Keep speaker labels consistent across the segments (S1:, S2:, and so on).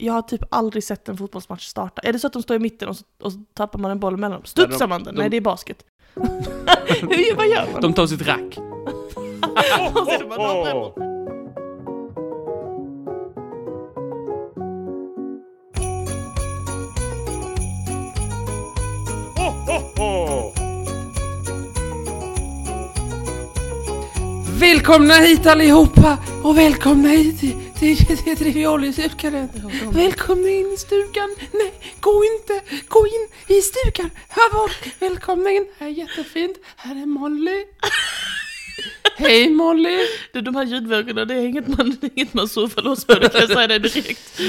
S1: Jag har typ aldrig sett en fotbollsmatch starta. Är det så att de står i mitten och så, och så tappar man en boll mellan dem? Studsar
S2: Nej, de-
S1: man den?
S2: de-
S1: Nej, det är basket. Hur, vad gör man?
S2: De tar sitt rack.
S1: Och så är det bara, de där-
S2: Välkomna hit allihopa och välkomna hit till, till, till Trivialistyrkan. Välkomna in i stugan. Nej, gå inte. Gå in i stugan. Här var. Välkomna in. Här är jättefint. Här är Molly. Hej Molly.
S1: Du, de här ljudvågorna, det är inget man, det är inget man surfar loss på, det kan jag säga dig direkt.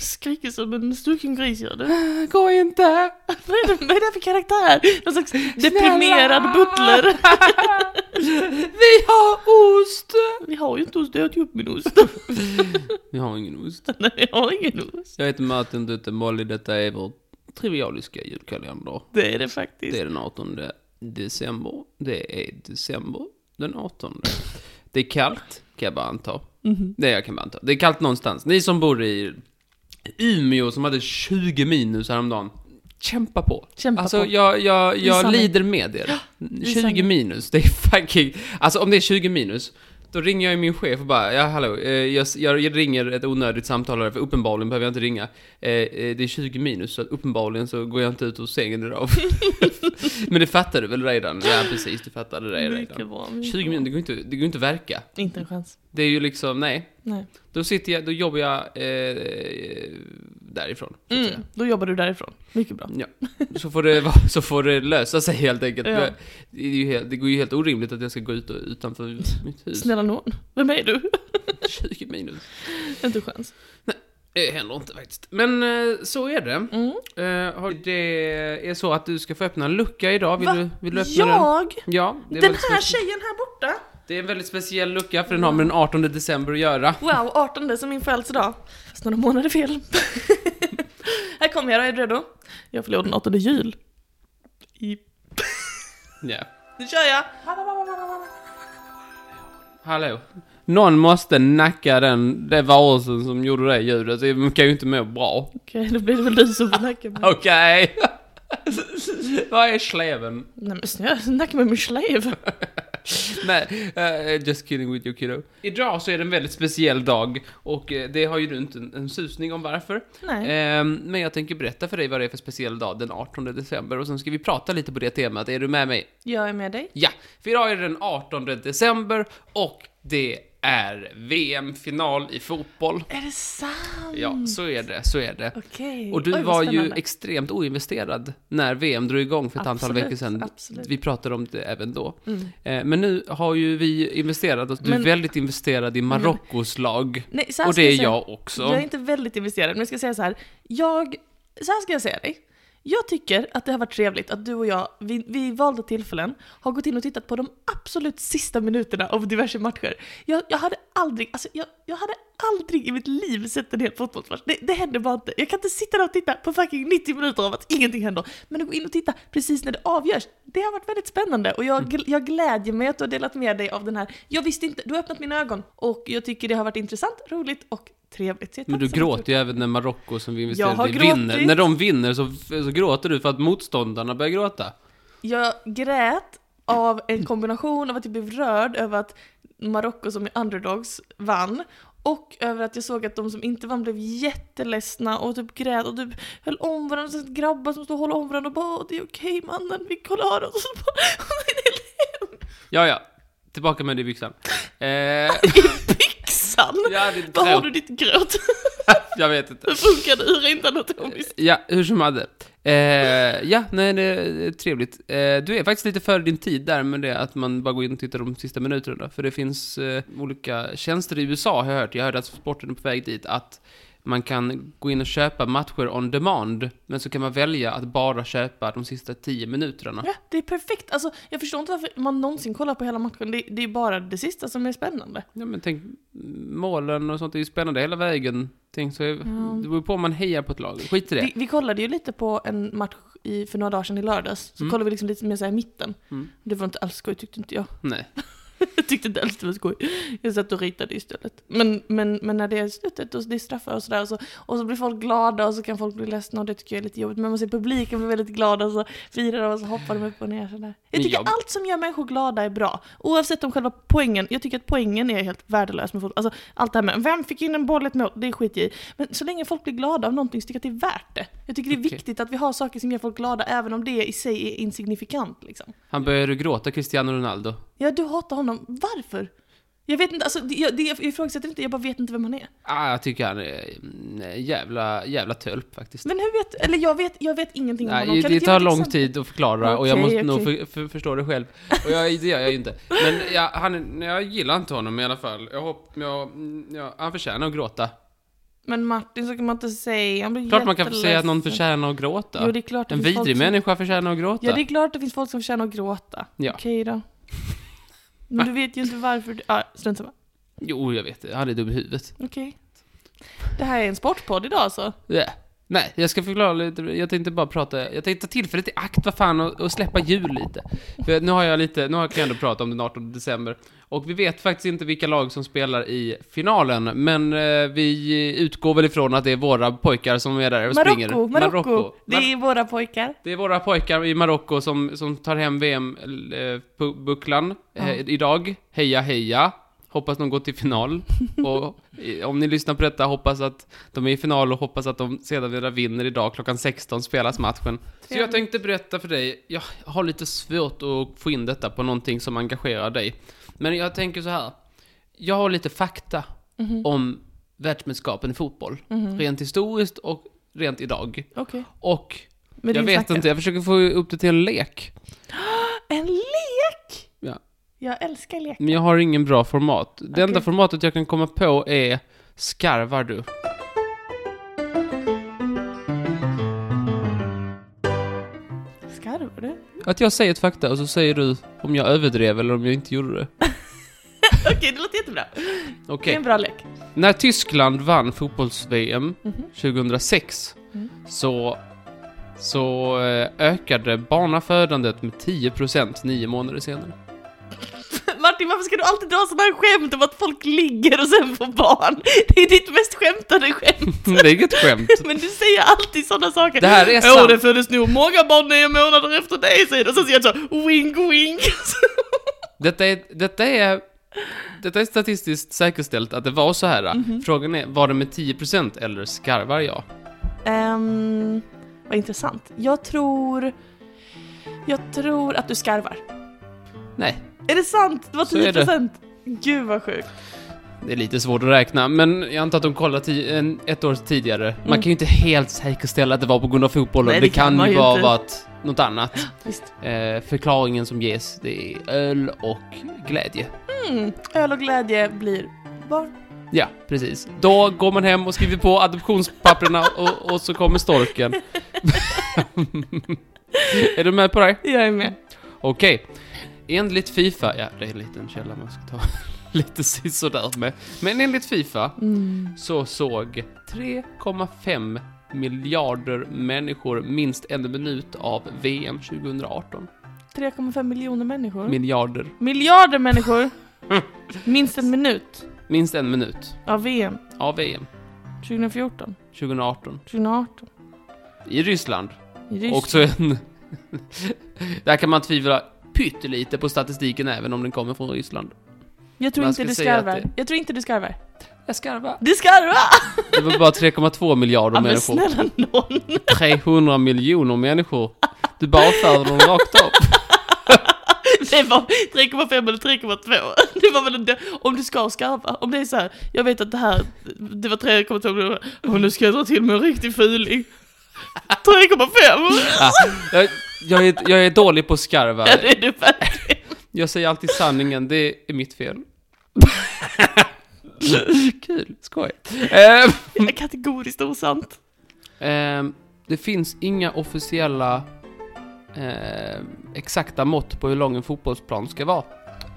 S1: Skriker som en stucken gris gör det.
S2: Äh, Gå inte.
S1: Vad är det, vad är det här för karaktär? Någon slags deprimerad
S2: Snälla.
S1: butler.
S2: Vi har ost.
S1: Vi har ju inte ost, jag åt ju upp min ost.
S2: Vi har ingen ost.
S1: Nej, jag har ingen ost.
S2: Jag heter Martin Dutte Molly, detta är vår trivialiska julkalender.
S1: Det är det faktiskt.
S2: Det är den 18 december. Det är december den 18. Det är kallt, kan jag bara anta.
S1: Mhm.
S2: Det jag kan bara anta. Det är kallt någonstans. Ni som bor i Umeå som hade 20 minus häromdagen. Kämpa på.
S1: Kämpa
S2: alltså,
S1: på.
S2: jag, jag, jag
S1: sanning.
S2: lider med er. 20
S1: sanning.
S2: minus, det är fucking... Alltså om det är 20 minus, då ringer jag ju min chef och bara, ja hallå, eh, jag, jag ringer ett onödigt samtal här, för uppenbarligen behöver jag inte ringa. Eh, eh, det är 20 minus, så att uppenbarligen så går jag inte ut ur sängen idag. Men det fattar du väl redan? Ja, precis, du fattade det
S1: Mycket
S2: redan.
S1: bra.
S2: 20 minuter, det går inte, det går inte att verka.
S1: Inte en chans.
S2: Det är ju liksom, nej.
S1: Nej.
S2: Då sitter jag, då jobbar jag eh, därifrån. så att
S1: Mm, då jobbar du därifrån. Mycket bra.
S2: säga. Ja. Så, får det, vara- så får det lösa sig helt enkelt.
S1: Ja.
S2: Jag- Det, är ju helt, det går ju helt orimligt att jag ska gå ut och, utanför mitt hus.
S1: Snälla nån, vem är du?
S2: 20 minus.
S1: Inte en chans.
S2: Det Eh, händer inte faktiskt. Men eh, så är det.
S1: Mm.
S2: Eh, har- det är så att du ska få öppna en lucka idag. Vill,
S1: Va?
S2: du, vill du öppna den?
S1: Jag?
S2: Ja, det är,
S1: Den
S2: väldigt
S1: här
S2: speci-
S1: tjejen här borta?
S2: det är en väldigt speciell lucka för den har med den 18 december att göra.
S1: Wow, 18 som min födelsedag. Fast några månader fel. här kommer jag då, är du redo? Jag förlorade den 8 jul. I...
S2: Ja.
S1: Nu kör jag!
S2: Hallå? Någon måste nacka den, det varelsen som gjorde det ljudet. De kan ju inte må bra.
S1: Okej, då blir det väl du som får nacka mig.
S2: Okej. Vad är sleven?
S1: Nej men snälla, nacka mig med slev.
S2: Nej, eh, just kidding with you kiddo. Idag så är det en väldigt speciell dag och eh, det har ju du inte en, en susning om varför.
S1: Nej.
S2: Ehm, men jag tänker berätta för dig vad det är för speciell dag den 18 december och sen ska vi prata lite på det temat. Är du med mig?
S1: Jag är med dig.
S2: Ja, för idag är det den 18 december och det är VM-final i fotboll.
S1: Är det sant?
S2: Ja, så är det, så är det.
S1: Okej.
S2: Och du
S1: Oj, vad
S2: var ju
S1: spännande.
S2: extremt oinvesterad när VM drog igång för ett antal
S1: Absolut,
S2: veckor sedan.
S1: absolut.
S2: Vi pratade om det även då.
S1: Mm.
S2: Eh, Men nu har ju vi investerat oss, du är
S1: Men- Mm.
S2: väldigt investerad i Marockos lag.
S1: Nej, så här
S2: Och
S1: ska
S2: det
S1: säga.
S2: är jag också.
S1: Jag är inte väldigt investerad, men jag ska säga så här. Jag, så här ska jag säga dig. Jag tycker att det har varit trevligt att du och jag vid, vid valda tillfällen har gått in och tittat på de absolut sista minuterna av diverse matcher. Jag, jag hade aldrig, alltså jag, jag hade aldrig i mitt liv sett en hel fotbollsmatch. Det, det händer bara inte. Jag kan inte sitta där och titta på fucking 90 minuter av att ingenting händer. Men att gå in och titta precis när det avgörs, det har varit väldigt spännande. Och jag, gl- jag glädjer mig att du har delat med dig av den här. Jag visste inte, du har öppnat mina ögon. Och jag tycker det har varit intressant, roligt och trevligt. Så jag är
S2: Men du
S1: tacksam att
S2: gråter ju även när Marocko som vi
S1: Jag har
S2: investerade i vinner.
S1: gråtit.
S2: När de vinner så, så gråter du för att motståndarna börjar gråta.
S1: Jag grät av en kombination av att jag blev rörd över att Marocko som är underdogs vann och över att jag såg att de som inte vann blev jätteledsna och typ grät och typ höll om varandra, så att grabbar som stod och höll om varandra och bara "Åh, det är okej mannen, vi klarar oss. Och så bara, "Åh, nej, det är Leon."
S2: Ja, ja. Tillbaka med det i byxan. Eh,
S1: I byxan!
S2: ja, ditt
S1: Var har
S2: gråt.
S1: du ditt gråt?
S2: Jag vet inte.
S1: Hur funkar det? Hur är inte anatomiskt?
S2: Ja, hur som hade. Eh, ja, nej, det är trevligt. Eh, du är faktiskt lite före din tid där med det att man bara går in och tittar de sista minuterna. För det finns eh, olika tjänster i USA har jag hört. Jag hörde att sporten är på väg dit att man kan gå in och köpa matcher on demand, men så kan man välja att bara köpa de sista tio minuterna.
S1: Ja, det är perfekt. Alltså, jag förstår inte varför man någonsin kollar på hela matchen. Det, det är bara det sista som är spännande.
S2: Ja, men tänk, målen och sånt är ju spännande hela vägen. Tänk så, det beror på om man hejar på ett lag. Skit i det.
S1: Vi, vi kollade ju lite på en match i, för några dagar sedan i lördags, så
S2: Mm.
S1: kollade vi liksom lite mer såhär i mitten.
S2: Mm.
S1: Det var inte alls skoj tyckte inte jag.
S2: Nej.
S1: jag tyckte inte alls det var skoj. Jag satt och ritade istället. Men, men, men när det är slutet och det är straffar och sådär och så, och så blir folk glada och så kan folk bli ledsna och det tycker jag är lite jobbigt. Men man ser publiken bli väldigt glad och så firar de och så hoppar de upp och ner sådär. Jag
S2: Men
S1: tycker
S2: jag-
S1: allt som gör människor glada är bra. Oavsett om själva poängen, jag tycker att poängen är helt värdelös med fotboll. Alltså allt det här med vem fick in en boll i ett mål, det skiter jag i. Men så länge folk blir glada av någonting så tycker jag att det är värt det. Jag tycker det är
S2: Okej.
S1: viktigt att vi har saker som gör folk glada även om det i sig är insignifikant liksom.
S2: Han började gråta, Cristiano Ronaldo.
S1: Ja, du hatar honom. Varför? Jag vet inte, alltså, det, jag, det, jag ifrågasätter inte, jag bara vet inte vem han är.
S2: Ah, jag tycker han är en jävla, jävla tölp faktiskt.
S1: Men hur vet, eller jag vet, jag vet ingenting om honom.
S2: Nej,
S1: Kan du
S2: det
S1: inte liksom- ge mig
S2: tar
S1: ett
S2: lång
S1: exempel?
S2: tid att förklara och jag måste
S1: Okej,
S2: nog
S1: okej.
S2: för, för, förstå det själv. Och jag, det gör jag ju inte. Men jag, han, jag gillar inte honom i alla fall. Jag hopp, jag, jag, han förtjänar att gråta.
S1: Men Martin, så kan man inte säga. Han blir
S2: Klart man kan
S1: jätteledsen.
S2: säga att någon förtjänar att gråta.
S1: Jo, det är klart det
S2: en
S1: finns folk
S2: vidrig
S1: som-
S2: människa förtjänar att gråta.
S1: Ja, det är klart det finns folk som förtjänar att gråta.
S2: Ja.
S1: Okej då. Men du vet ju inte varför du... Ah, strunt samma.
S2: Jo, jag vet det. Han är dum i huvudet.
S1: Okej. Det här är en sportpodd idag alltså.
S2: Yeah. Nej, jag ska förklara lite. Jag tänkte bara prata. Jag tänkte ta tillfället i akt, vad fan, och, och släppa jul lite. För nu har jag lite, nu har- kan jag ändå prata om den 18 december. Och vi vet faktiskt inte vilka lag som spelar i finalen, men eh, vi utgår väl ifrån att det är våra pojkar som är där och springer.
S1: Marocko, Marocko. Det
S2: Mar-
S1: är våra pojkar.
S2: det är våra pojkar i Marocko som, som tar hem eh, VM-bucklan
S1: Ja.
S2: eh, idag. Heja, heja! Hoppas de går till final. Och eh, om ni lyssnar på detta, hoppas att de är i final och hoppas att de sedan vinner idag. Klockan 16 spelas matchen. Så jag tänkte berätta för dig, jag har lite svårt att få in detta på någonting som engagerar dig. Men jag tänker så här. Jag har lite fakta om världsmästerskapen i fotboll. Rent historiskt och rent idag.
S1: Okej.
S2: Och
S1: Men det är
S2: jag
S1: ju
S2: vet
S1: snacket.
S2: inte, jag försöker få upp det till en lek.
S1: En lek!
S2: Ja.
S1: Jag älskar lek.
S2: Men jag har ingen bra format. Det
S1: Okej.
S2: enda formatet jag kan komma på är Skarvar du?
S1: Skarvar du?
S2: Att jag säger ett fakta och så säger du om jag överdrev eller om jag inte gjorde det.
S1: Okej, det låter jättebra. Det är
S2: Okej.
S1: en bra lek.
S2: När Tyskland vann fotbolls-VM
S1: Mhm.
S2: 2006
S1: Mm.
S2: så, så eh, ökade barnafödandet med 10% nio månader senare.
S1: Martin, varför ska du alltid dra sådana här skämt om att folk ligger och sen får barn? Det är ditt mest skämtade skämt,
S2: det är inget skämt.
S1: men du säger alltid sådana saker.
S2: Det här är
S1: Åh,
S2: sant.
S1: det föddes nog många barn nio månader efter dig, säger du. Och sen säger jag så, wink wink.
S2: Detta är, detta är, detta är statistiskt säkerställt att det var så här.
S1: Mhm.
S2: Frågan är, var det med 10% eller skarvar jag?
S1: um, vad intressant. Jag tror... Jag tror att du skarvar.
S2: Nej,
S1: Är det sant? Det var
S2: Så är
S1: 10
S2: det.
S1: procent. Gud vad sjukt.
S2: det är lite svårt att räkna, men jag antar att de kollar ti- en, ett år tidigare. Man kan ju inte helt säkerställa att det var på grund av fotbollen.
S1: Mm. Nej,
S2: det,
S1: det kan
S2: kan
S1: man
S2: ju
S1: ju
S2: vara
S1: inte.
S2: varit något annat.
S1: Visst.
S2: Eh, förklaringen som ges, det är öl och glädje.
S1: Mm. Öl och glädje blir barn.
S2: Ja, precis. Då går man hem och skriver på adoptionspapperna och, och så kommer storken. är du med på det?
S1: Jag är med.
S2: Okej. Enligt Fifa, ja det är en liten källa man ska ta lite sisådär med. Men enligt Fifa
S1: Mm.
S2: så såg 3,5 miljarder människor minst en minut av VM 2018.
S1: 3,5 miljoner människor.
S2: Miljarder.
S1: Miljarder människor. Minst en minut
S2: Minst en minut
S1: av VM
S2: av VM
S1: 2014,
S2: 2018.
S1: 2018.
S2: I Ryssland.
S1: I Ryssland.
S2: Också en... Där kan man tvivla pyttelite på statistiken även om den kommer från Ryssland.
S1: Jag tror
S2: man
S1: inte
S2: skulle
S1: du
S2: säga att
S1: skarvar.
S2: det-
S1: Jag tror inte du skarvar.
S2: Jag skarvar.
S1: Du skarvar!
S2: Det var bara 3,2 miljarder
S1: Ja, men
S2: människor.
S1: snälla nån.
S2: 300 miljoner människor. Du bara avfärdar dem rakt av.
S1: Det var 3,5 eller 3,2. Det var väl en del- Om du ska skarva. Om det är så här, jag vet att det här, det var 3,2 miljoner. Och nu ska jag dra till med en riktig fuling. 3,5!
S2: Ah, jag, jag, är, jag är dålig på att skarva.
S1: Ja, det är du verkligen.
S2: Jag säger alltid sanningen, det är mitt fel. Kul, skoj. Ehm,
S1: Kategoriskt osant.
S2: ehm, det finns inga officiella ehm, exakta mått på hur lång en fotbollsplan ska vara.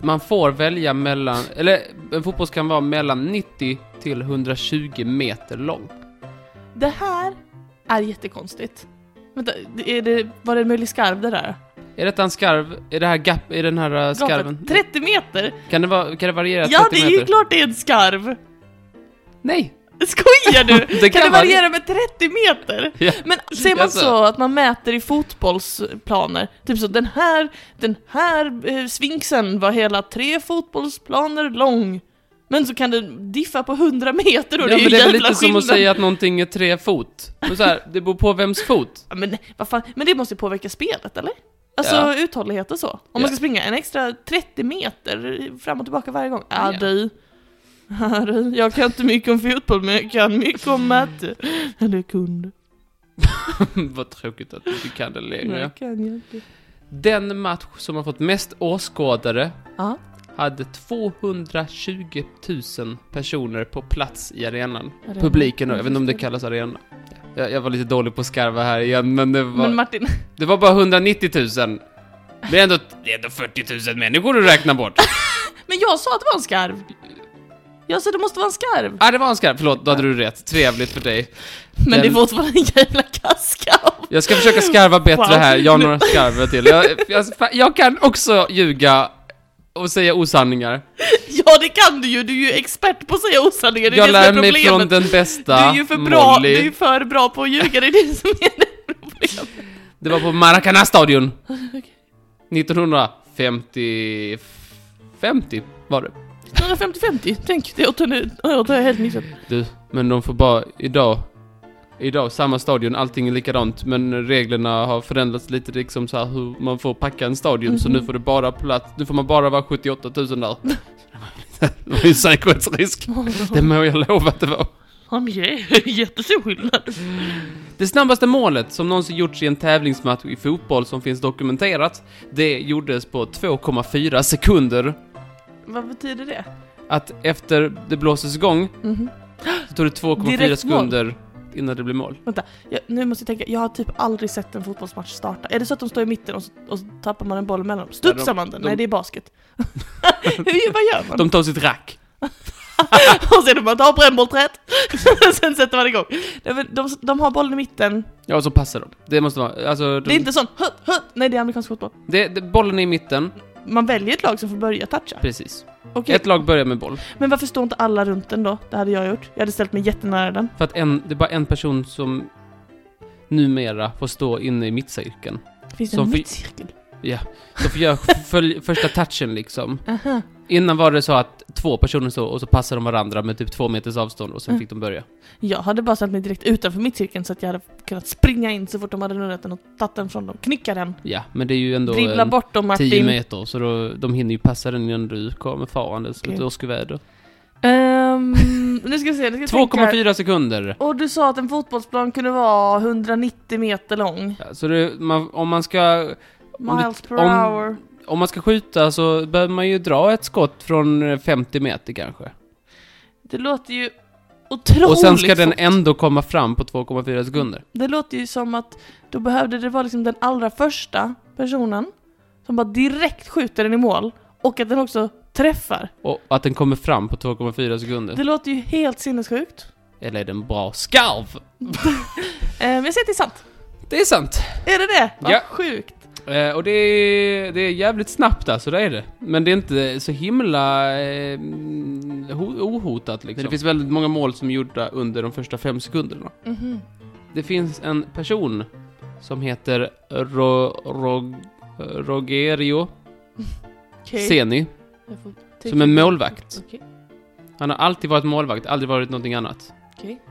S2: Man får välja mellan, eller en fotboll kan vara mellan 90 till 120 meter lång.
S1: Det här är jättekonstigt. Vänta, är det, var det en möjlig skarv det där?
S2: Eh, Är detta en skarv? Är det här gap? Är den här eh, skarven?
S1: Gapet 30 meter!
S2: Kan det, vara, kan det variera
S1: Ja,
S2: 30
S1: det är
S2: meter?
S1: ju klart det är en skarv!
S2: Nej!
S1: Skojar du?
S2: Det
S1: kan,
S2: kan
S1: det
S2: man.
S1: variera med 30 meter?
S2: Ja. alltså.
S1: Men ser man
S2: Jaså?
S1: så att man mäter i fotbollsplaner, typ så den här, den här eh, svinksen var hela tre fotbollsplaner lång. Men så kan den diffa på 100 meter och det
S2: Ja,
S1: är ju
S2: men det är väl
S1: jävla
S2: lite som
S1: skillnad.
S2: att säga att någonting är tre fot. Men så här, det beror på vems fot.
S1: Ja, men, vad fan? men det måste ju påverka spelet, eller? Alltså
S2: Ja.
S1: uthållighet och så. Om
S2: Ja.
S1: man ska springa en extra 30 meter fram och tillbaka varje gång. Ja,
S2: Ja.
S1: du. Ja, du. Jag kan inte mycket om fotboll, men jag kan mycket om matte. Eller kunde.
S2: Vad tråkigt att du inte kan det längre.
S1: Nej, kan jag inte.
S2: Den match som har fått mest åskådare
S1: Ja.
S2: hade 220 000 personer på plats i arenan.
S1: Arena.
S2: Publiken då,
S1: Ja,
S2: jag vet inte om det
S1: just det.
S2: kallas arena. Jag, jag var lite dålig på att skarva här igen, men det var,
S1: Men Martin,
S2: det var bara 190 000. Det är ändå, det är ändå 40 000 människor du räknar bort.
S1: men jag sa att det var en skarv. Jag sa det måste vara en skarv.
S2: ah, det var en skarv. Förlåt, då hade du rätt. Trevligt för dig.
S1: Men det är
S2: den-
S1: fortfarande en jävla kastskarv.
S2: Jag ska försöka skarva bättre
S1: Wow.
S2: här, jag har några skarvar till. Jag, jag, jag kan också ljuga och säga osanningar.
S1: Ja, det kan du ju. Du är ju expert på att säga osanningar. Det är
S2: Jag
S1: det som är
S2: lär mig
S1: problemet.
S2: från den
S1: Du
S2: bästa,
S1: är ju för bra,
S2: Molly.
S1: du är ju för bra på att ljuga, det är det som är det problemet.
S2: Det var på Maracanã-stadion. 1950... 50 var det.
S1: 150-50, tänk, det åt jag- åt jag helt missat.
S2: Du, men de får bara idag... Idag, samma stadion, allting är likadant, men reglerna har förändrats lite liksom så här hur man får packa en stadion, så
S1: Mhm.
S2: nu får det bara plats, nu får man bara vara 78 000 där. Det var ju en säkerhetsrisk. Det må jag lova att det var.
S1: Ja, men det är jättestor skillnad.
S2: Det snabbaste målet som någonsin gjorts i en tävlingsmatch i fotboll som finns dokumenterat, det gjordes på 2,4 sekunder.
S1: Vad betyder det?
S2: Att efter det blåses igång
S1: Mhm.
S2: så tog det 2,4
S1: Direkt mål.
S2: sekunder innan det blev mål.
S1: Jag, nu måste jag tänka, jag har typ aldrig sett en fotbollsmatch starta. Är det så att de står i mitten och så, och så tappar man en boll mellan dem? Studsar
S2: Nej, de-
S1: man den?
S2: de-
S1: Nej, det är basket. Hur, vad gör man?
S2: De tog sitt rack.
S1: och sen man tar brännbollträet, sen sätter man igång. Nej, men de, de har bollen i mitten.
S2: Ja, och så passar de. Det måste vara, alltså... De,
S1: Det är inte sån, hö, hö. nej det är amerikansk fotboll.
S2: det, det, bollen är i mitten,
S1: Man väljer ett lag som får börja toucha.
S2: precis.
S1: Okej.
S2: Ett lag börjar med boll.
S1: Men varför står inte alla runt den då? Det hade jag gjort. Jag hade ställt mig jättenära den.
S2: För att en, det är bara en person som numera får stå inne i mittcirkeln.
S1: Finns det
S2: Som
S1: en
S2: för-
S1: mittcirkel?
S2: Så får jag följ, första touchen liksom.
S1: Aha.
S2: Innan var det så att två personer stod och så passade de varandra med typ två meters avstånd och sen
S1: Mm.
S2: fick de börja.
S1: Jag hade bara ställt mig direkt utanför mittcirkeln så att jag hade kunnat springa in så fort de hade nunnet den och tagit den från dem. Knicka den.
S2: Ja, men det är ju ändå
S1: Dribbla
S2: en
S1: bort dem
S2: 10
S1: Martin.
S2: meter så då, de hinner ju passa den innan du kommer farandes okay.
S1: Okej.
S2: ett årskuväder.
S1: Ehm, nu ska vi se, nu ska vi tänka.
S2: 2,4 sekunder!
S1: Och du sa att en fotbollsplan kunde vara 190 meter lång.
S2: Ja, så det, man, om, man ska, Om du-
S1: Miles per
S2: om-
S1: hour.
S2: om man ska skjuta så behöver man ju dra ett skott från eh, 50 meter kanske.
S1: Det låter ju otroligt
S2: och sen ska den
S1: fort.
S2: ändå komma fram på 2,4 sekunder.
S1: Det låter ju som att då behövde det vara liksom den allra första personen som bara direkt skjuter den i mål och att den också träffar.
S2: Och att den kommer fram på 2,4 sekunder.
S1: Det låter ju helt sinnessjukt.
S2: Eller är det en bra skarv?
S1: Eh, Men jag säger att det är sant.
S2: Det är sant!
S1: Är det det? Vad
S2: Ja.
S1: sjukt.
S2: Eh, och det är, det är jävligt snabbt alltså, det är det. Men det är inte så himla eh, ho- ohotat liksom. Det finns väldigt många mål som är gjorda under de första fem sekunderna.
S1: Mhm.
S2: Det finns en person som heter Ro, Ro, Rogerio
S1: Okej.
S2: Ceni.
S1: Jag får take
S2: Som en
S1: it.
S2: målvakt.
S1: Okej.
S2: Han har alltid varit målvakt, aldrig varit någonting annat.
S1: Okej.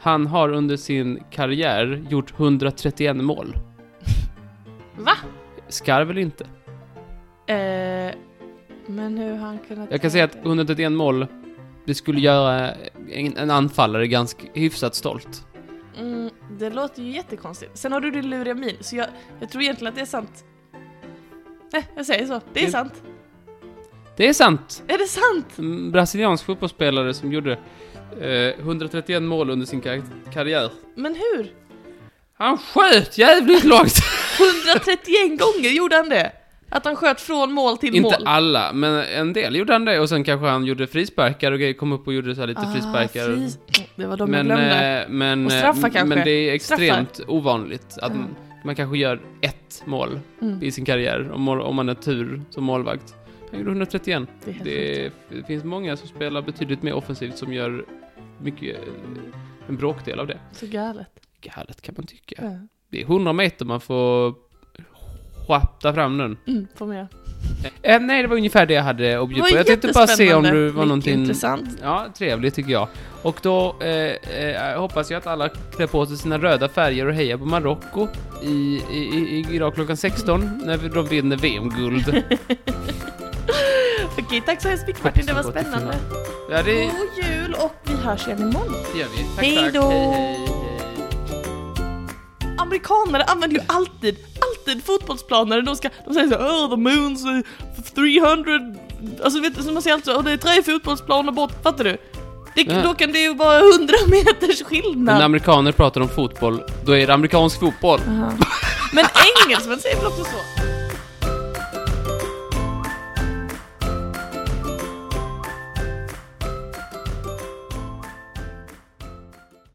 S2: Han har under sin karriär gjort 131 mål.
S1: Va?
S2: Skarv eller inte?
S1: Eh, Men hur har han kunnat...
S2: Jag kan säga att 131 mål, det skulle göra en, en anfallare ganska hyfsat stolt.
S1: Mm, det låter ju jättekonstigt. Sen har du din luriga min, så jag, jag tror egentligen att det är sant. Nej, jag säger så. Det är
S2: Det-
S1: sant.
S2: Det är sant!
S1: Är det sant?
S2: En brasiliansk fotbollsspelare som gjorde eh, 131 mål under sin kar- karriär.
S1: Men hur?
S2: Han sköt jävligt långt!
S1: 131 gånger gjorde han det! Att han sköt från mål till
S2: Inte
S1: mål.
S2: alla, men en del gjorde han det och sen kanske han gjorde frisparkar och grejer, kom upp och gjorde så här lite frisparkar.
S1: Ah, fris- Mm, Det var de jag
S2: Men,
S1: glömde.
S2: eh, men,
S1: Och straffar
S2: eh,
S1: kanske.
S2: men det är extremt ovanligt att
S1: Mm.
S2: Man kanske gör ett mål
S1: Mm.
S2: i sin karriär, om, mål- om man är tur som målvakt. Han gjorde 131.
S1: Det är helt sjukt.
S2: Det, är- det finns många som spelar betydligt mer offensivt som gör mycket, eh, en bråkdel av det.
S1: Så galet. Eh,
S2: Galet kan man tycka.
S1: Ja.
S2: Det är 100 meter man får schapta fram den.
S1: Mm, får med.
S2: Eh, nej, det var ungefär det jag hade att bjuda
S1: Vad
S2: på. Jag tänkte bara se om
S1: jättespännande.
S2: du var
S1: Mycket
S2: någonting...
S1: intressant.
S2: Ja, trevligt tycker jag. Och då eh, eh, hoppas jag att alla klär på sig sina röda färger och hejar på Marocko i, i, i, idag klockan 16 när de vinner VM-guld.
S1: Okej, tack så hemskt mycket Martin, det var
S2: Hoppas det går till
S1: spännande.
S2: ja, det
S1: God jul och vi hörs igen imorgon.
S2: gör vi. Tack,
S1: Hej
S2: tack.
S1: då.
S2: Hej, hej, hej.
S1: Amerikaner använder ju alltid, alltid fotbollsplaner. De, ska, de säger så här, oh the moons eh, 300, alltså vet du, som man säger alltså, oh, det är tre fotbollsplaner bort, fattar du? Det,
S2: Ja.
S1: Då kan det ju vara 100 meters skillnad.
S2: När amerikaner pratar om fotboll, då är det amerikansk fotboll.
S1: Aha. Men engelsmän säger väl också så?